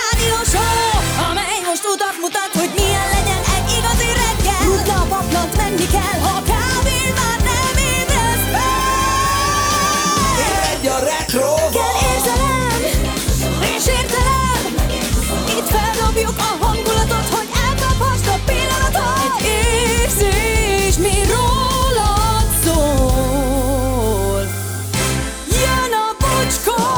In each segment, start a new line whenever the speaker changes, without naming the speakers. rádió show, amely most utat mutat, hogy milyen legyen egy igazi reggel. Rutna a paplant, menni kell, ha kávén már nem ébresz fel.
Egy a retro
Kell érzelem, és értelem, itt feldobjuk a hangulatot, hogy elkaphast a pillanatot. Egy érzés, mi rólad szól. Jön a bocskor!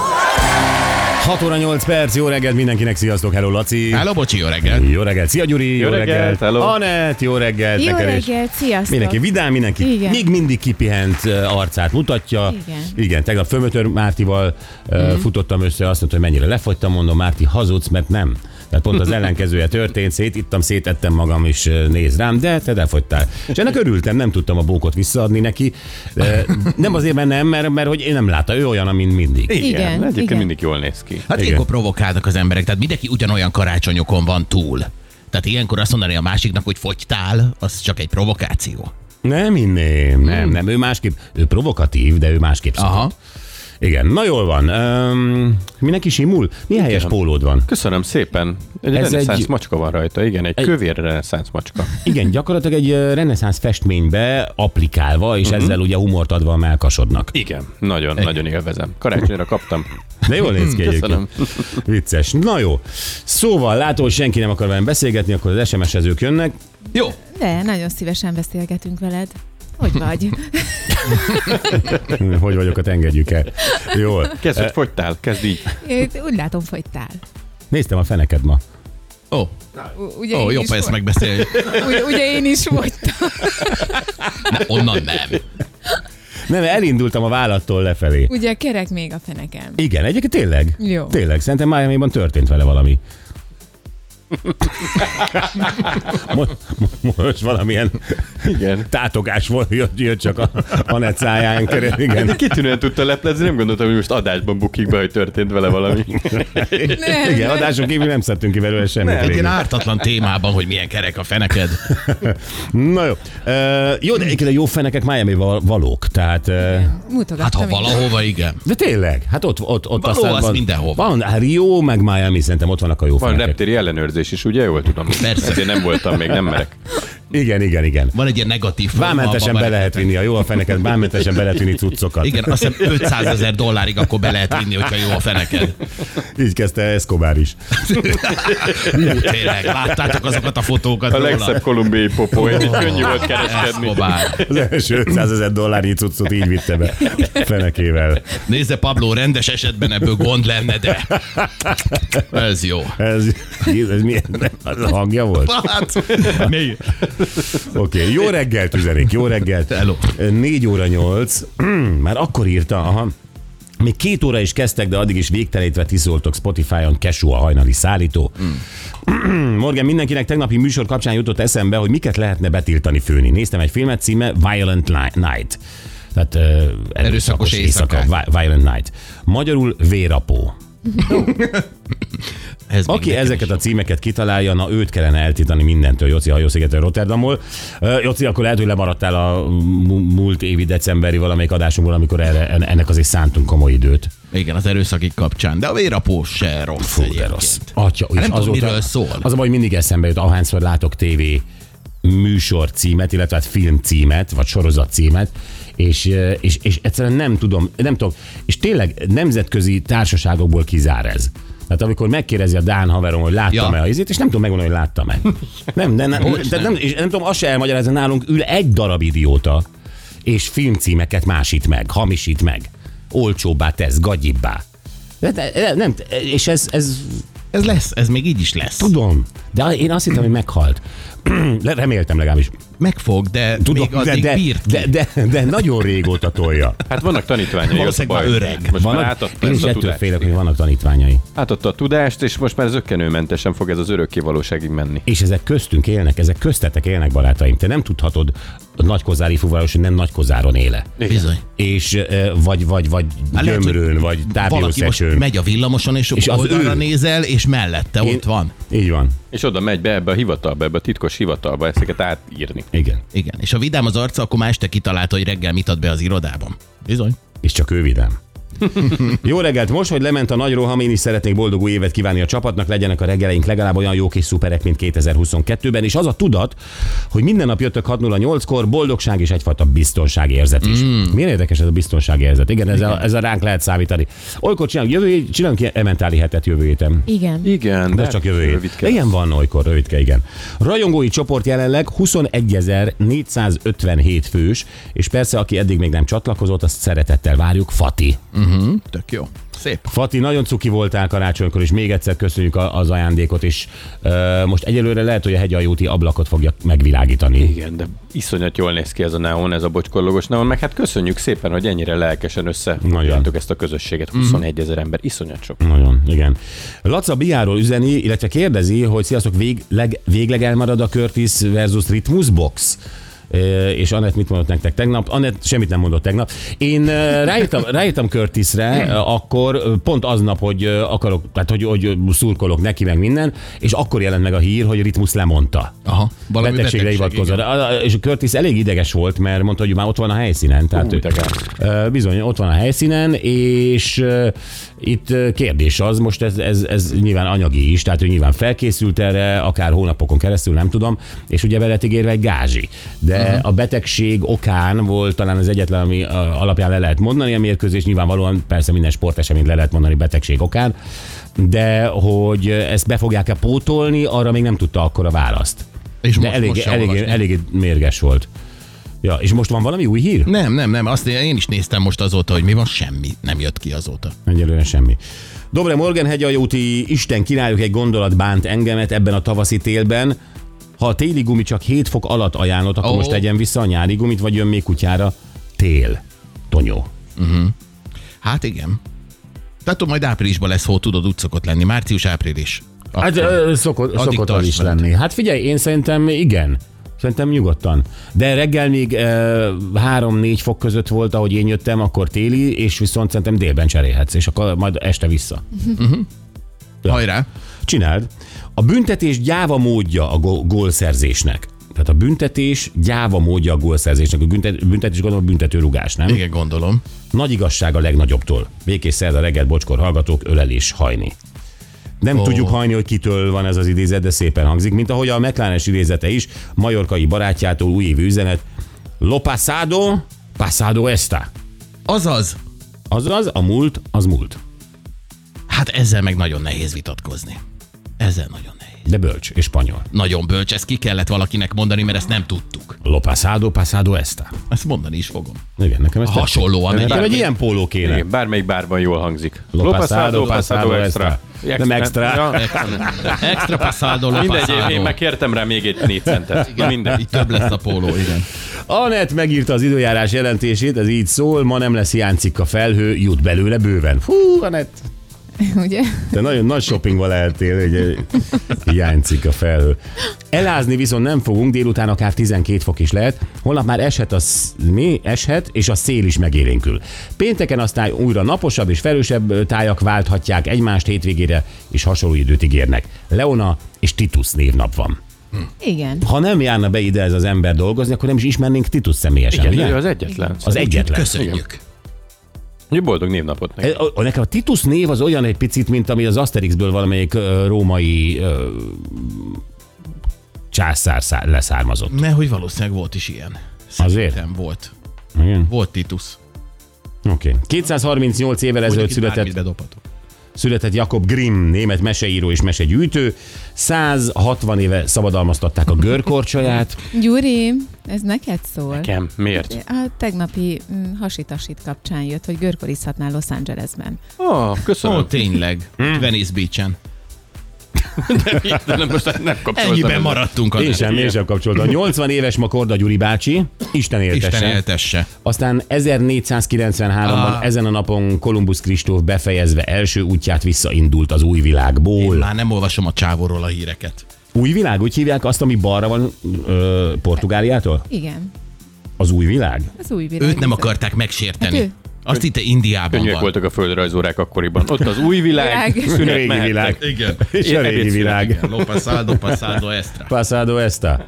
6 óra 8 perc, jó reggelt mindenkinek, sziasztok, hello Laci!
Hello, bocsi, jó reggel.
Jó reggelt, szia Gyuri, jó,
reggelt, hello.
Anett, jó reggelt,
Jó
neked is.
reggelt, sziasztok!
Mindenki vidám, mindenki
Igen.
még mindig kipihent ö, arcát mutatja.
Igen. Mhm.
Igen tegnap Fömötör Mártival mm. futottam össze, azt mondta, hogy mennyire lefogytam, mondom, Márti hazudsz, mert nem. Tehát pont az ellenkezője történt, szétittam, szétettem magam, és ö, néz rám, de te lefogytál. És ennek örültem, nem tudtam a bókot visszaadni neki. Ö, Nem azért, mert nem, mert, mert hogy én nem látta, ő olyan, mint mindig.
Igen,
Egyébként
igen.
mindig jól néz ki.
Hát
Igen.
ilyenkor provokálnak az emberek, tehát mindenki ugyanolyan karácsonyokon van túl. Tehát ilyenkor azt mondani a másiknak, hogy fogytál, az csak egy provokáció.
Nem inném, nem, nem, ő másképp, ő provokatív, de ő másképp szokott.
Aha.
Igen, na jól van. Öm, mindenki simul? Milyen helyes pólód van?
Köszönöm szépen. Egy
Ez
Ez reneszánsz
egy-
egy... macska van rajta, igen, egy, egy... kövér reneszánsz macska.
Igen, gyakorlatilag egy ö, reneszánsz festménybe applikálva, és ezzel ugye humort adva a melkasodnak.
Igen, nagyon, nagyon élvezem. Karácsonyra kaptam.
De jól néz ki
Köszönöm.
egyébként. Vicces. Na jó. Szóval látom, hogy senki nem akar velem beszélgetni, akkor az SMS-ezők jönnek.
Jó.
De nagyon szívesen beszélgetünk veled. Hogy vagy?
Hogy vagyok, ott engedjük el. Jól.
Kezd, hogy fogytál, kezd így.
Én Úgy látom, fogytál.
Néztem a feneked ma.
Ó, oh,
U- Ugye
oh,
én
jó,
is
ha ezt
fogy-
megbeszéljük.
ugye, ugye én is fogytam.
Ne, onnan nem.
Nem, elindultam a vállattól lefelé.
Ugye kerek még a fenekem.
Igen, egyébként tényleg.
Jó.
Tényleg, szerintem Miami-ban történt vele valami. Most, most valamilyen
Igen.
tátogás volt, jött, jött csak a, a net száján kerül, igen.
Kitűnően tudta leplezni, nem gondoltam, hogy most adásban bukik be, hogy történt vele valami.
Nem,
Igen,
nem.
adáson kívül nem szedtünk ki belőle semmit.
Egy ilyen
végül.
ártatlan témában, hogy milyen kerek a feneked.
Na jó. Ö, jó, de egyébként a jó fenekek miami valók, tehát... ö,
Hát
Mutogattam.
ha
én.
valahova, igen.
De tényleg, hát ott, ott, ott
Való
aztán
az
van...
mindenhol.
Van, hát Rio, meg Miami, szerintem ott vannak a jó
Van
fenekek.
reptéri ellenőrzés is, ugye? Jól tudom.
Persze.
Ezért nem voltam még, nem merek.
Igen, igen, igen.
Van egy ilyen negatív forma.
Vámmentesen
abba
be lehet vinni a jó a feneket, vámmentesen be lehet vinni cuccokat.
Igen, azt hiszem 500 ezer dollárig akkor be lehet vinni, hogyha jó a feneked.
Így kezdte Escobar is.
Ú, tényleg, láttátok azokat a fotókat
A
róla?
legszebb kolumbiai popó, így könnyű volt kereskedni.
Escobar.
Az első 500 ezer dollárnyi cuccot így vitte be fenekével.
Nézze, Pablo, rendes esetben ebből gond lenne, de ez jó.
Ez, ez milyen az a hangja volt?
Hát, még.
Oké, okay, jó reggelt üzenik, jó reggelt.
Hello.
4 óra 8, már akkor írta, aha. Még két óra is kezdtek, de addig is végtelenítve tiszoltok Spotify-on, Kesú a hajnali szállító.
Hmm.
Morgan, mindenkinek tegnapi műsor kapcsán jutott eszembe, hogy miket lehetne betiltani főni. Néztem egy filmet, címe Violent Li- Night. Tehát uh, erőszakos,
Erőszakos éjszakák.
Vi- Violent Night. Magyarul vérapó.
Ez még
Aki
nekem
ezeket
is
a
jó.
címeket kitalálja, na őt kellene eltiltani mindentől, Joci hajószigetről, Rotterdamból. Ö, Joci, akkor lehet, hogy lemaradtál a mu- múlt évi decemberi valamelyik adásunkból, amikor erre, en- ennek azért szántunk komoly időt.
Igen, az erőszakik kapcsán, de a vérapó se rossz.
Fú, de
egyébként.
rossz. Atya, és
Hát nem tudom, miről szól.
Az a baj, mindig eszembe jut, ahányszor látok tévé műsor címet, illetve hát film címet, vagy sorozat címet, és, ö, és, és egyszerűen nem tudom, nem tudom, és tényleg nemzetközi társaságokból kizár ez. Tehát amikor megkérdezi a Dán haverom, hogy láttam-e
Ja.
a izét, és nem tudom megmondani, hogy láttam-e. Nem, de nem, de nem, és nem tudom, azt se elmagyarázni, nálunk ül egy darab idióta, és filmcímeket másít meg, hamisít meg, olcsóbbá tesz, gagyibbá. De, de, de, nem, és ez, ez
Ez lesz, ez még így is lesz.
Tudom, de én azt hittem, hogy meghalt. Le- Reméltem legalábbis.
Meg fog, de
Tudom,
még addig
de,
bírt.
de, de, de, de, nagyon régóta tolja.
Hát vannak tanítványai, az a
Valószínűleg
baj.
már öreg.
Most már
Vannak,
átadta
én is
ezt a
ettől
tudást.
félek, hogy vannak tanítványai.
Átadta Hát a tudást, és most már zökkenőmentesen fog ez az örökké valóságig menni.
És ezek köztünk élnek, ezek köztetek élnek, barátaim. Te nem tudhatod a nagykozári fuvaros, hogy nem nagykozáron éle.
Bizony.
És eh, vagy, vagy, vagy
Hát lehet, hogy
gyömrőn, vagy
Valaki most
tápiószesőn.
megy a villamoson, és,
És
és
az
oldalra
ő.
nézel, és mellette
Én-
ott van.
Így van.
És oda megy be ebbe a hivatalba, ebbe a titkos hivatalba ezeket átírni.
Igen.
Igen. És ha vidám az arca, akkor már este kitalálta, hogy reggel mit ad be az irodában. Bizony.
és csak ő vidám. Jó reggelt! Most, hogy lement a nagy roham, én is szeretnék boldog új évet kívánni a csapatnak, legyenek a reggeleink legalább olyan jók és szuperek, mint 2022-ben, és az a tudat, hogy minden nap jöttök 6.08-kor, boldogság és egyfajta biztonságérzet is. Mm. Milyen érdekes ez a biztonságérzet? Igen, ez, A, ez a ránk lehet számítani. Olykor csinálunk jövő, hét- csinálunk ilyen ementáli hetet jövő héten.
Igen.
Igen,
De ez csak jövő hét.
rövidke.
Ilyen van olykor, rövidke, igen. Rajongói csoport jelenleg 21.457 fős, és persze, aki eddig még nem csatlakozott, azt szeretettel várjuk, Fati.
Mhm, Tök jó. Szép.
Fati, nagyon cuki voltál karácsonykor, és még egyszer köszönjük a- az ajándékot, és ö, most egyelőre lehet, hogy a hegyajóti ablakot fogja megvilágítani.
Igen, de iszonyat jól néz ki ez a neon, ez a bocskorlogos neon, meg hát köszönjük szépen, hogy ennyire lelkesen összeadjátok ezt a közösséget.
Mhm.
21 ezer ember, iszonyat sok.
Nagyon, igen. Laca Biáról üzeni, illetve kérdezi, hogy sziasztok, vég, leg, végleg elmarad a Curtis versus Ritmus Box? Ö, És Anett mit mondott nektek tegnap? Anett semmit nem mondott tegnap. Én ö, ráírtam, ráírtam Curtisre, ö, akkor ö, pont aznap, hogy ö, akarok, tehát hogy, hogy szurkolok neki, meg minden, és akkor jelent meg a hír, hogy Ritmus lemondta.
Aha. Valami
betegségre
betegség,
hivatkozott. A- a- És Curtis elég ideges volt, mert mondta, hogy már ott van a helyszínen. Tehát
Hú,
ő,
de gáz.
Ö, bizony, ott van a helyszínen, és ö, itt ö, kérdés az, most ez, ez, ez nyilván anyagi is, tehát ő nyilván felkészült erre, akár hónapokon keresztül, nem tudom, és ugye velet ígérve egy gázsi. De uh-huh. a betegség okán volt talán az egyetlen, ami ö, alapján le lehet mondani a mérkőzés, nyilvánvalóan persze minden sporteseményt le lehet mondani betegség okán, de hogy ö, ezt be fogják-e pótolni, arra még nem tudta akkor a választ.
És
De
most-
elég,
most sem
elég,
olvasni.
elég mérges volt. Ja, és most van valami új hír?
Nem, nem, nem. Azt én is néztem most azóta, hogy mi van, semmi nem jött ki azóta.
Egyelőre semmi. Dobre Morgan hegyaljóti Isten királyok egy gondolat bánt engemet ebben a tavaszi télben. Ha a téli gumi csak 7 fok alatt ajánlott, akkor
Ó.
oh. most tegyen vissza a nyári gumit, vagy jön még kutyára tél. Tonyó.
Hát igen. Tehát tudom, majd áprilisban lesz hó, tudod, úgy szokott lenni. Március, április. Ah,
Hát
Akkor-
ö, szokott,
Addig
szokott az
tarts
is
veled.
lenni. Hát figyelj, én szerintem igen. Szerintem nyugodtan. De reggel még ö, 3-4 fok között volt, ahogy én jöttem, akkor téli, és viszont szerintem délben cserélhetsz, és akkor majd este vissza.
Hajrá.
Csináld. A büntetés gyáva módja a gó- gólszerzésnek. Tehát a büntetés gyáva módja a gólszerzésnek. A büntet- büntetés gondolom a büntetőrugás, nem?
Igen, gondolom.
Nagy igazság a legnagyobbtól. Békés szerda reggel bocskor hallgatók, ölelés hajni. Nem oh. tudjuk hajni, hogy kitől van ez az idézet, de szépen hangzik, mint ahogy a McLaren-es idézete is, majorkai barátjától újévi üzenet. Lo pasado, pasado esta.
Azaz,
Azaz, a múlt, az múlt.
hát ezzel meg nagyon nehéz vitatkozni. Ezzel nagyon nehéz.
De bölcs és spanyol.
Nagyon bölcs, ezt ki kellett valakinek mondani, mert ezt nem tudtuk.
Lo pasado, pasado esta.
Ezt mondani is fogom.
Igen, nekem ez tetszik.
Hasonlóan. egy
Nekem
ilyen-
egy ilyen póló kéne.
Igen, bármelyik bárban jól hangzik.
pasado, pasado extra. Nem extra.
Extra passzádó,
Mindegy, én- én meg kértem rá még egy négy centet. Na mindegy.
Így több lesz a póló, igen.
Anett megírta az időjárás jelentését, ez így szól, ma nem lesz hiánycikk a felhő, jut belőle bőven. Hú, Anett,
Ugye?
te nagyon nagy shoppingba lehetél, hogy eh, hiánycikk a felhő. Elázni viszont nem fogunk, délután akár 12 fok is lehet, holnap már eshet a, sz- mi? eshet, és a szél is megélénkül. Pénteken aztán újra naposabb és felősebb ö, tájak válthatják egymást hétvégére, és hasonló időt ígérnek. Leona és Titus névnap van.
Igen.
Ha nem járna be ide ez az ember dolgozni, akkor nem is ismernénk Titus személyesen,
Igen,
ugye?
ő az egyetlen.
Az egyetlen.
Köszönjük.
Jó boldog névnapot neki.
E, a- a- Nekem a Titus név az olyan egy picit, mint ami az Asterixből valamelyik ö, római ö, császár szá- leszármazott.
Nehogy valószínűleg volt is ilyen.
Azért?
Nem volt.
Igen.
Volt Titus.
Oké. 238 évvel ezelőtt született, született Jakob Grimm, német meseíró és mesegyűjtő. 160 éve szabadalmaztatták a görkorcsolyát.
Gyuri, ez neked szól?
Kem, miért?
A tegnapi mm, hasitasit kapcsán jött, hogy görkorizhatnál Los Angelesben.
Ó,
Ó,
köszönöm.
tényleg.
Hm.
Venice Beach-en.
De nem, most nem kapcsoltam.
Ennyiben maradtunk.
Én
Anett.
sem, én sem kapcsoltam. 80 éves ma Korda Gyuri bácsi. Isten
Isten
éltesse.
éltesse.
Aztán 1493-ban
Ah.
ezen a napon Kolumbusz Kristóf befejezve első útját visszaindult az új
Én
világból.
már nem olvasom a csávóról a híreket.
Új világ, úgy hívják azt, ami balra van ö, Portugáliától?
Igen,
Az új világ?
az új világ.
Őt nem
bizony.
akarták
Hát
megsérteni.
ő-
Azt hitte Indiában
Könnyűek
van.
voltak a földrajzórák akkoriban. Ott az új világ,
Világ.
szünet
Régi
mehettek.
világ.
Igen.
És a
Én
régi
ebéd
világ.
Igen, Lopaszáldo, passzáldo, extra.
Pasado esta.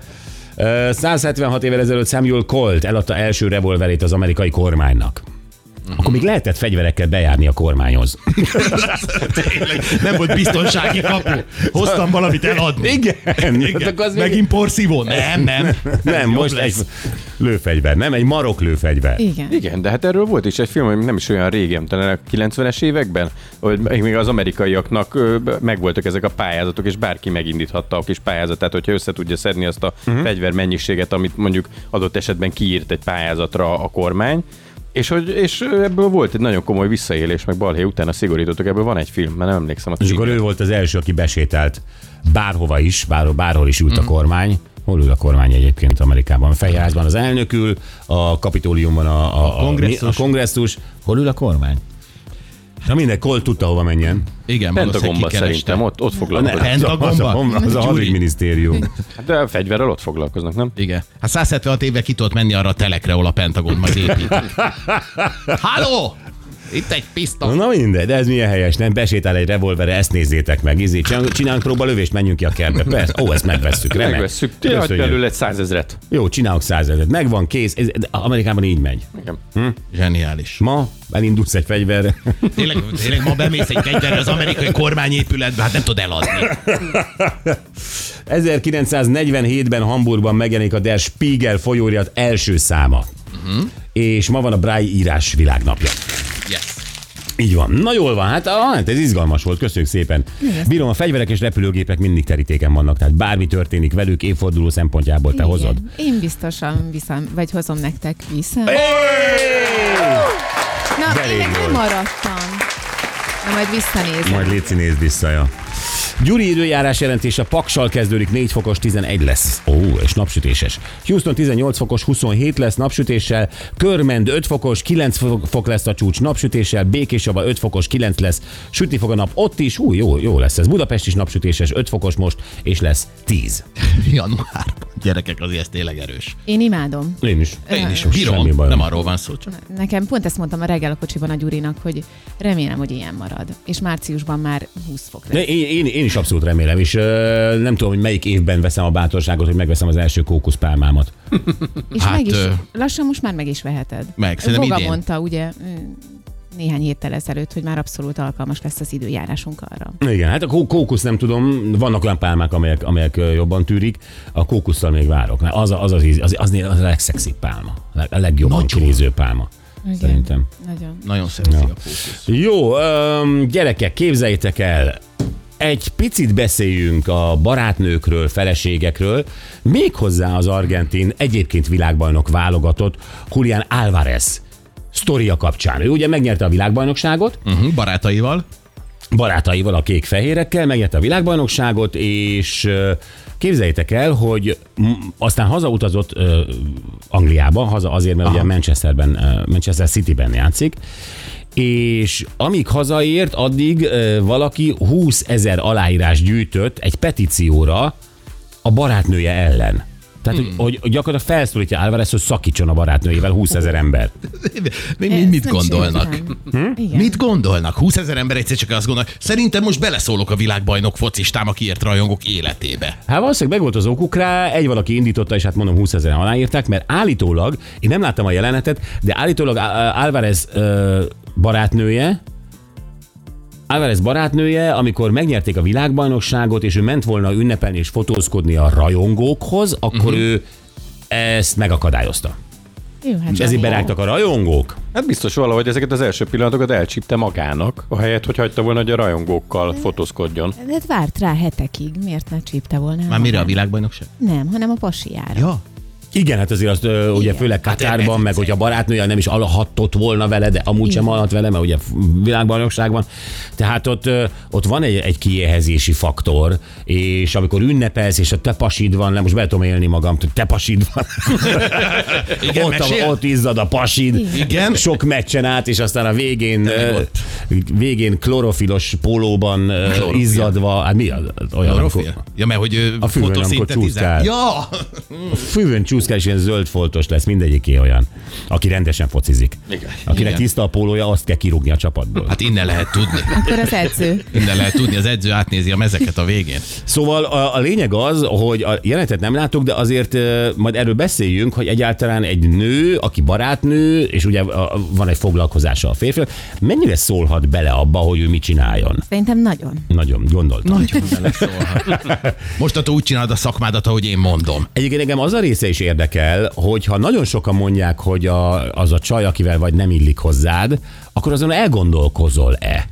Ö, 176 évvel ezelőtt Samuel Colt eladta első revolverét az amerikai kormánynak.
Mhm.
Akkor még lehetett fegyverekkel bejárni a kormányhoz.
Nem volt biztonsági kapu. Hoztam valamit eladni.
Igen.
Igen.
Hát akkor az még-
Megint porszívó? Nem, nem.
Nem,
Jobb
most egy
lesz.
lőfegyver, nem egy marok lőfegyver.
Igen.
Igen, de hát erről volt is egy film, ami nem is olyan régen, talán a 90-es években, hogy még még az amerikaiaknak ö, b- megvoltak ezek a pályázatok, és bárki megindíthatta a kis pályázatát, hogyha össze tudja szedni azt a uh-huh. fegyver mennyiséget, amit mondjuk adott esetben kiírt egy pályázatra a kormány, és, hogy, és ebből volt egy nagyon komoly visszaélés, meg balhé utána szigorítottak, ebből van egy film, mert nem emlékszem a
És akkor
címre.
ő volt az első, aki besételt bárhova is, bárhol, bárhol is ült a kormány. Hol ül a kormány egyébként Amerikában? A Fehérházban az elnök ül, a kapitóliumban a, a, a,
kongresszus.
a kongresszus. Hol ül a kormány? Na minden, Kolt tudta, hova menjen.
Igen,
Pentagonban
valószínűleg
szerintem,
kikereste.
ott, ott
Ne,
foglalkoznak. Hát,
az, a- az, a- az a
Gyuri.
hadügyminisztérium.
De a fegyverrel ott foglalkoznak, nem?
Igen. Hát 176 éve ki tudott menni arra a telekre, ahol a Pentagon majd építik. Halló! Itt egy piszta.
Na mindegy, de ez milyen helyes, nem? Besétál egy revolvere, ezt nézzétek meg, izé, csinálunk, csinálunk próbalövést, menjünk ki a kertbe. Persze, ó, ezt megvesszük, remek.
Megvesszük, ti adj
Köszönjük.
belőle egy százezret.
Jó, csinálok százezret. Megvan, kész. Ez, de Amerikában így megy.
Igen.
Zseniális.
Ma elindulsz egy fegyverre.
Tényleg, tényleg ma bemész egy fegyverre az amerikai kormányépületbe, hát nem tud eladni.
1947-ben Hamburgban megjelenik a Der Spiegel folyóirat első száma. És ma van a Braille írás világnapja.
Yes.
Így van. Na jól van, hát, ah, hát ez izgalmas volt, köszönjük szépen. Bírom, a fegyverek és repülőgépek mindig terítéken vannak, tehát bármi történik velük, évforduló szempontjából te
Igen.
hozod.
Én biztosan viszem, vagy hozom nektek vissza. Na,
Elég
én meg
volt.
nem maradtam. Na, majd visszanézem.
Majd Léci nézd vissza, ja. Gyuri időjárás jelentése paksal kezdődik, 4 fokos 11 lesz. Ó, és napsütéses. Houston 18 fokos 27 lesz napsütéssel, Körmend 5 fokos 9 fo- fok lesz a csúcs napsütéssel, Békésjaba 5 fokos 9 lesz, sütni fog a nap ott is, új, jó, jó lesz ez. Budapest is napsütéses, 5 fokos most, és lesz 10.
Januárban. Gyerekek, azért ez tényleg erős.
Én imádom.
Én is.
Én is
Semmi
bírom,
bajom.
nem arról van szó, csak
Nekem pont ezt mondtam a reggel a kocsiban a Gyurinak, hogy remélem, hogy ilyen marad. És márciusban már 20 fok lesz.
De én, én, én is abszolút remélem, és ö, nem tudom, hogy melyik évben veszem a bátorságot, hogy megveszem az első kókuszpálmámat.
És
Hát,
meg is,
ö-
lassan most már meg is veheted.
Meg, szerintem
Boga
idén.
mondta ugye mm, néhány héttel ezelőtt, hogy már abszolút alkalmas lesz az időjárásunk arra.
Igen, hát a kó- kókusz nem tudom, vannak olyan pálmák, amelyek, amelyek ö, jobban tűrik, a kókusszal még várok. Mert Az a- az, az, íz- az, az, az a legszexibb pálma, a leg- a legjobban
Nagyon.
kinéző pálma. Igen. Szerintem.
Nagyon.
nagyon szerint a fókusz.
Jó, öm, gyerekek, képzeljétek el, egy picit beszéljünk a barátnőkről, feleségekről, méghozzá az argentin egyébként világbajnok válogatott Julián Álvarez sztoria kapcsán. Ő ugye megnyerte a világbajnokságot,
Uh-huh, barátaival.
barátaival, a kék-fehérekkel, megnyerte a világbajnokságot, és ö, képzeljétek el, hogy m- aztán hazautazott ö, Angliába, haza azért, mert ugye Manchesterben, ö, Manchester Cityben játszik, és amíg hazaért, addig ö, valaki 20 ezer aláírás gyűjtött egy petícióra a barátnője ellen. Tehát, hmm. hogy, hogy gyakorlatilag felszólítja Álvarez, hogy szakítson a barátnőjével 20 ezer ember.
Mi, mi,
Ezt
mit
nem
gondolnak?
sejtem. Igen.
Mit gondolnak? 20 ezer ember egyszer csak azt gondolja, szerintem most beleszólok a világbajnok focistám, aki ért rajongok életébe.
Hát valószínűleg meg volt az okuk rá, egy valaki indította, és hát mondom 20 ezeren aláírták, mert állítólag, én nem láttam a jelenetet, de állítólag Á- Á- Álvarez ö, barátnője, Álvarez barátnője, amikor megnyerték a világbajnokságot, és ő ment volna ünnepelni és fotózkodni a rajongókhoz, akkor uh-huh. ő ezt megakadályozta.
Jó, hát
És ezért
Zsani.
berágtak a rajongók.
Hát biztos valahogy ezeket az első pillanatokat elcsípte magának, ahelyett, hogy hagyta volna, hogy a rajongókkal fotózkodjon.
De hát várt rá hetekig, miért ne csípte volna?
Már mire a világbajnokság?
Nem, hanem a pasiára.
Ja.
Igen, hát azért azt ö, ugye
Igen.
főleg Katárban,
ez-
meg hogy a barátnője nem is alhattott volna vele, de amúgy sem alhat vele, mert ugye világbajnokság van. Tehát ott, ö, ott van egy, egy kiéhezési faktor, és amikor ünnepelsz, és a te pasid van, nem most be tudom élni magam, hogy te pasid van,
Igen,
ott, a,
mesél?
ott izzad a pasid,
Igen.
sok meccsen át, és aztán a végén ö,
ott.
végén klorofilos pólóban ö,
Klorofil.
izzadva, hát mi az, olyan,
Klorofil? Ja, mert hogy
A fülön, amikor
fotoszintetizál.
csúszkál.
Ja!
fűvön úszkál, és ilyen zöld foltos lesz, mindegyiké olyan, aki rendesen focizik.
Igen.
Akinek
Igen.
tiszta a pólója, azt kell kirúgni a csapatból.
Hát innen lehet tudni.
Akkor az edző.
Innen lehet tudni, az edző átnézi a mezeket a végén.
Szóval a, a lényeg az, hogy a jelenetet nem látok, de azért ö, majd erről beszéljünk, hogy egyáltalán egy nő, aki barátnő, és ugye a, van egy foglalkozása a férfi, mennyire szólhat bele abba, hogy ő mit csináljon?
Szerintem nagyon.
Nagyon, gondoltam.
Nagyon Mostantól úgy csinálod a szakmádat, ahogy én mondom.
Egyébként engem az a része is érdekel, hogy ha nagyon sokan mondják, hogy a, az a csaj, akivel vagy nem illik hozzád, akkor azon elgondolkozol-e?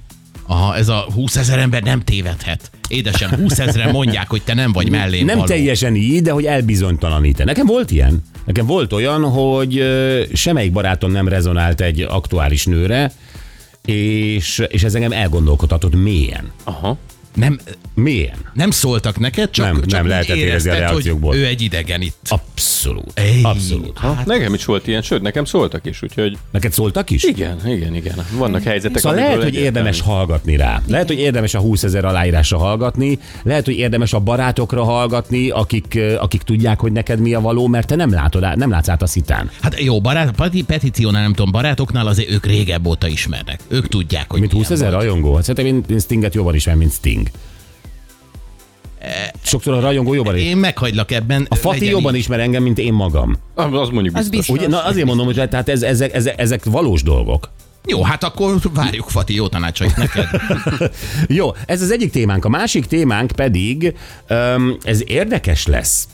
Aha, ez a 20 ezer ember nem tévedhet. Édesem, 20 ezeren mondják, hogy te nem vagy mellém
Nem
való.
teljesen így, de hogy elbizonytalanít. Nekem volt ilyen. Nekem volt olyan, hogy ö, semmelyik barátom nem rezonált egy aktuális nőre, és, és ez engem elgondolkodhatott mélyen.
Aha.
Nem,
Mélyen.
nem szóltak neked, csak,
Nem,
csak
nem,
úgy
lehetett érezni a
érezted, hogy
reakciókból.
Ő egy idegen itt.
Abszolút.
Ej.
Abszolút.
Hát, nekem is volt ilyen, sőt, nekem szóltak is, úgyhogy
Neked szóltak is?
igen, igen, igen. Vannak helyzetek,
Szóval
amikor
lehet, hogy
egyértelmű.
érdemes hallgatni rá. Lehet, hogy érdemes a 20 ezer aláírásra hallgatni, lehet, hogy érdemes a barátokra hallgatni, akik, ö, akik tudják, hogy neked mi a való, mert te nem látod, át- nem látsz át a szitán.
Hát jó, barát, peti- petíciónál nem tudom, barátoknál azért ők régebb óta ismernek. Ők tudják, hogy
Mint
milyen
20 ezer
volt.
rajongó? Hát szerintem én, én Stinget jobban ismerem, mint Sting. Sokszor a rajongó jobban is.
Én meghagylak ebben.
A Fati jobban
is.
ismer engem, mint én magam.
Ah, Az mondjuk
Az
biztos.
biztos.
Ugye? Na azért mondom, hogy tehát ez, ezek, ezek, ezek valós dolgok.
Jó, hát akkor várjuk Fati jó tanácsait neked.
Jó, ez az egyik témánk. A másik témánk pedig, öm, ez érdekes lesz.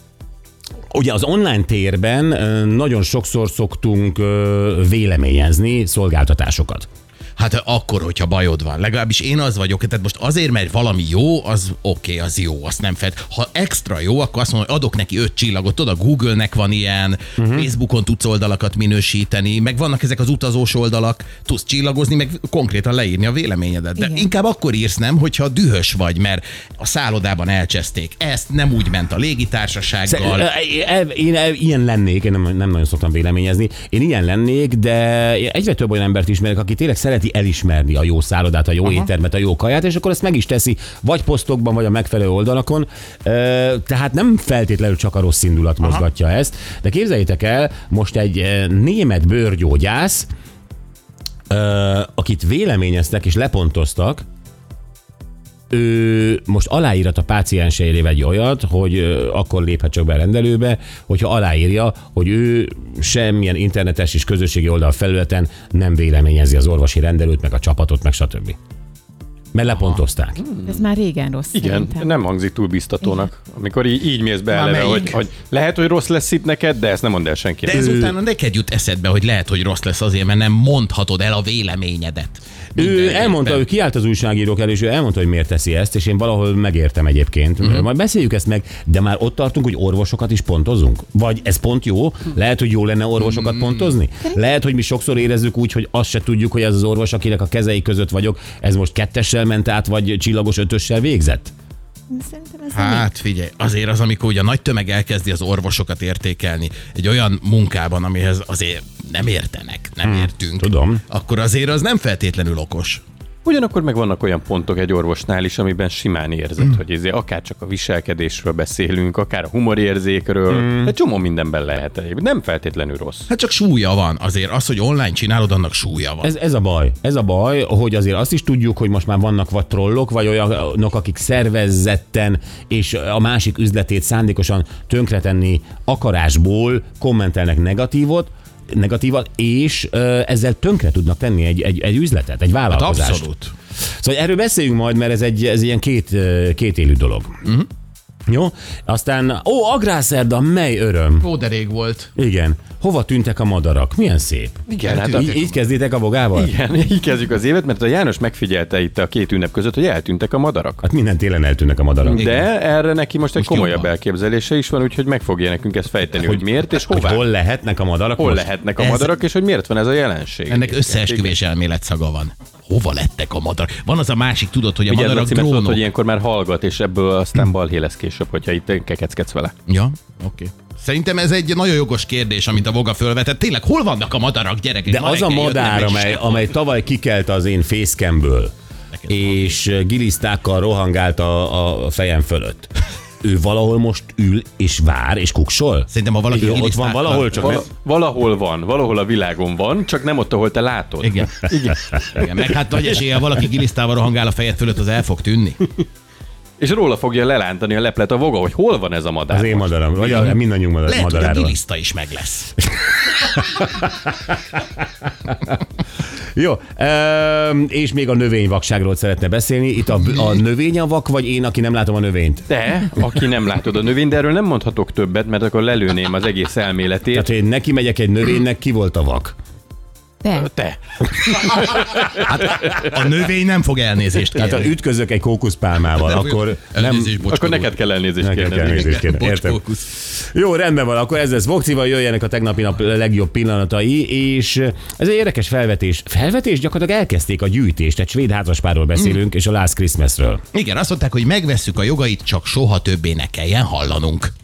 Ugye az online térben ö, nagyon sokszor szoktunk ö, véleményezni szolgáltatásokat.
Hát akkor, hogyha bajod van. Legalábbis én az vagyok. Tehát most azért, mert valami jó, az oké, okay, az jó, azt nem fed. Ha extra jó, akkor azt mondom, hogy adok neki öt csillagot. Tudod, a Google-nek van ilyen,
Mhm.
uh-huh. Facebookon tudsz oldalakat minősíteni, meg vannak ezek az utazós oldalak, tudsz csillagozni, meg konkrétan leírni a véleményedet. De
Igen.
inkább akkor írsz nem, hogyha dühös vagy, mert a szállodában elcseszték. Ezt nem úgy ment a légitársasággal.
El- Én el- ilyen lennék, én nem, nem nagyon szoktam véleményezni, én ilyen lennék, de egyre több olyan embert ismerek, aki tényleg szereti elismerni a jó szállodát, a jó Aha. éttermet, a jó kaját, és akkor ezt meg is teszi, vagy posztokban, vagy a megfelelő oldalakon. Ö, Tehát nem feltétlenül csak a rossz indulat mozgatja ezt, de képzeljétek el, most egy ö, német bőrgyógyász, ö, akit véleményeztek és lepontoztak, ő most aláírat a pácienseire egy olyat, hogy ö, akkor léphet csak be a rendelőbe, hogyha aláírja, hogy ő semmilyen internetes és közösségi oldal felületen nem véleményezi az orvosi rendelőt, meg a csapatot, meg stb. Mert lepontozták.
Ez már régen rossz
Igen,
szerintem.
nem hangzik túl biztatónak. Amikor így, így mész be
Már
eleve,
melyik?
hogy, hogy lehet, hogy rossz lesz itt neked, de ezt nem mondd el senkinek.
De ezután neked jut eszedbe, hogy lehet, hogy rossz lesz azért, mert nem mondhatod el a véleményedet.
Ő
Minden
elmondta,
évben.
ő kiállt az újságírók elé, és ő elmondta, hogy miért teszi ezt, és én valahol megértem egyébként.
Mhm.
Mm-hmm. Majd beszéljük ezt meg, de már ott tartunk, hogy orvosokat is pontozunk. Vagy ez pont jó? Lehet, hogy jó lenne
Mm.
orvosokat pontozni? Lehet, hogy mi sokszor érezzük úgy, hogy azt se tudjuk, hogy ez az orvos, akinek a kezei között vagyok, ez most kettessel ment át, vagy csillagos ötössel végzett?
Szerintem ez nem
Hát figyelj, azért az, amikor ugye a nagy tömeg elkezdi az orvosokat értékelni egy olyan munkában, amihez azért nem értenek, nem hmm, értünk.
tudom.
Akkor azért az nem feltétlenül okos.
Ugyanakkor meg vannak olyan pontok egy orvosnál is, amiben simán érzed, mm. hogy ezért akár csak a viselkedésről beszélünk, akár a humorérzékről, mm. egy csomó mindenben lehet egyébként. Nem feltétlenül rossz.
Hát csak súlya van. Azért az, hogy online csinálod, annak súlya van. Ez...
Ez, ez a baj. Ez a baj, hogy azért azt is tudjuk, hogy most már vannak vagy trollok, vagy olyanok, akik szervezetten és a másik üzletét szándékosan tönkretenni akarásból kommentelnek negatívot, negatívat, és ö, ezzel tönkre tudnak tenni egy, egy, egy üzletet, egy
Hát
vállalkozást.
Abszolút.
Szóval erről beszéljünk majd, mert ez egy ez ilyen két, ö, kétélű dolog.
Mhm.
Uh-huh. Jó? Aztán, ó, agrárszerda, mely öröm.
Ó, de rég volt.
Igen. Hova tűntek a madarak? Milyen szép.
Igen, hát a,
Így, így kezditek a bogával?
igen, így kezdjük az évet, mert a János megfigyelte itt a két ünnep között, hogy eltűntek a madarak.
Hát minden télen eltűnnek a madarak.
De erre neki most egy
Most
komolyabb
jobban.
elképzelése is van, úgyhogy meg fogja nekünk ezt fejteni, hogy, hogy miért és
Hát, Hogy
hová.
hol lehetnek a madarak
hol
most?
lehetnek a
Ez-
madarak, és hogy miért van ez a jelenség.
Ennek összeesküvés elmélet szaga van. Hova lettek a madarak? Van az a másik, tudod, hogy a
Ugye
madarak
Laci, mert tudod,
drónok.
hogy ilyenkor már hallgat, és ebből aztán balhé lesz később, hogyha itt kekeckedsz vele.
Ja, oké. Okay. Szerintem ez egy nagyon jogos kérdés, amit a Voga fölvetett. Tényleg, hol vannak a madarak, gyerekek?
De
Ma
az a
reggel jöttek
madár,
meg, és
amely,
sehol.
amely tavaly kikelt az én fészkemből,
Neked
és gilisztákkal rohangált a, a fejem fölött. ő valahol most ül és vár és kuksol?
Szerintem, ha valaki
Ő ott van
kilisztálta-
valahol, csak nem...
Val- valahol van, valahol a világon van, csak nem ott, ahol te látod.
Igen. Igen. Igen. Meg hát nagy eséllyel valaki gilisztával rohangál a fejed fölött, az el fog tűnni.
És róla fogja lelántani a leplet a voga, hogy hol van ez a madár.
Az én madaram, vagy a, mindannyiunk madar-
Lehet, hogy a
madaráról.
giliszta is meg lesz.
Jó, ehm, és még a növényvakságról szeretne beszélni. Itt a, a növény a vak, vagy én, aki nem látom a növényt?
Te, aki nem látod a növényt, de erről nem mondhatok többet, mert akkor lelőném az egész elméletét.
Tehát, hogy én neki megyek egy növénynek, ki volt a vak?
Te,
Te.
A növény nem fog elnézést
Tehát, ha
kérni.
ütközök egy kókuszpálmával, akkor nem...
Elnézést, bocskó.
Akkor neked kell elnézést
Neked kell
kérni.
elnézést kérni. Értem.
Bocskókusz.
Jó, rendben van, akkor ez lesz Vokcival, jöjjenek a tegnapi nap legjobb pillanatai, és eh, ez egy érdekes felvetés. Felvetés gyakorlatilag elkezdték a gyűjtést, egy svéd házaspárról beszélünk, és a Last Christmasről.
Igen, azt mondták, hogy megvesszük a jogait, csak soha többé ne kelljen hallanunk.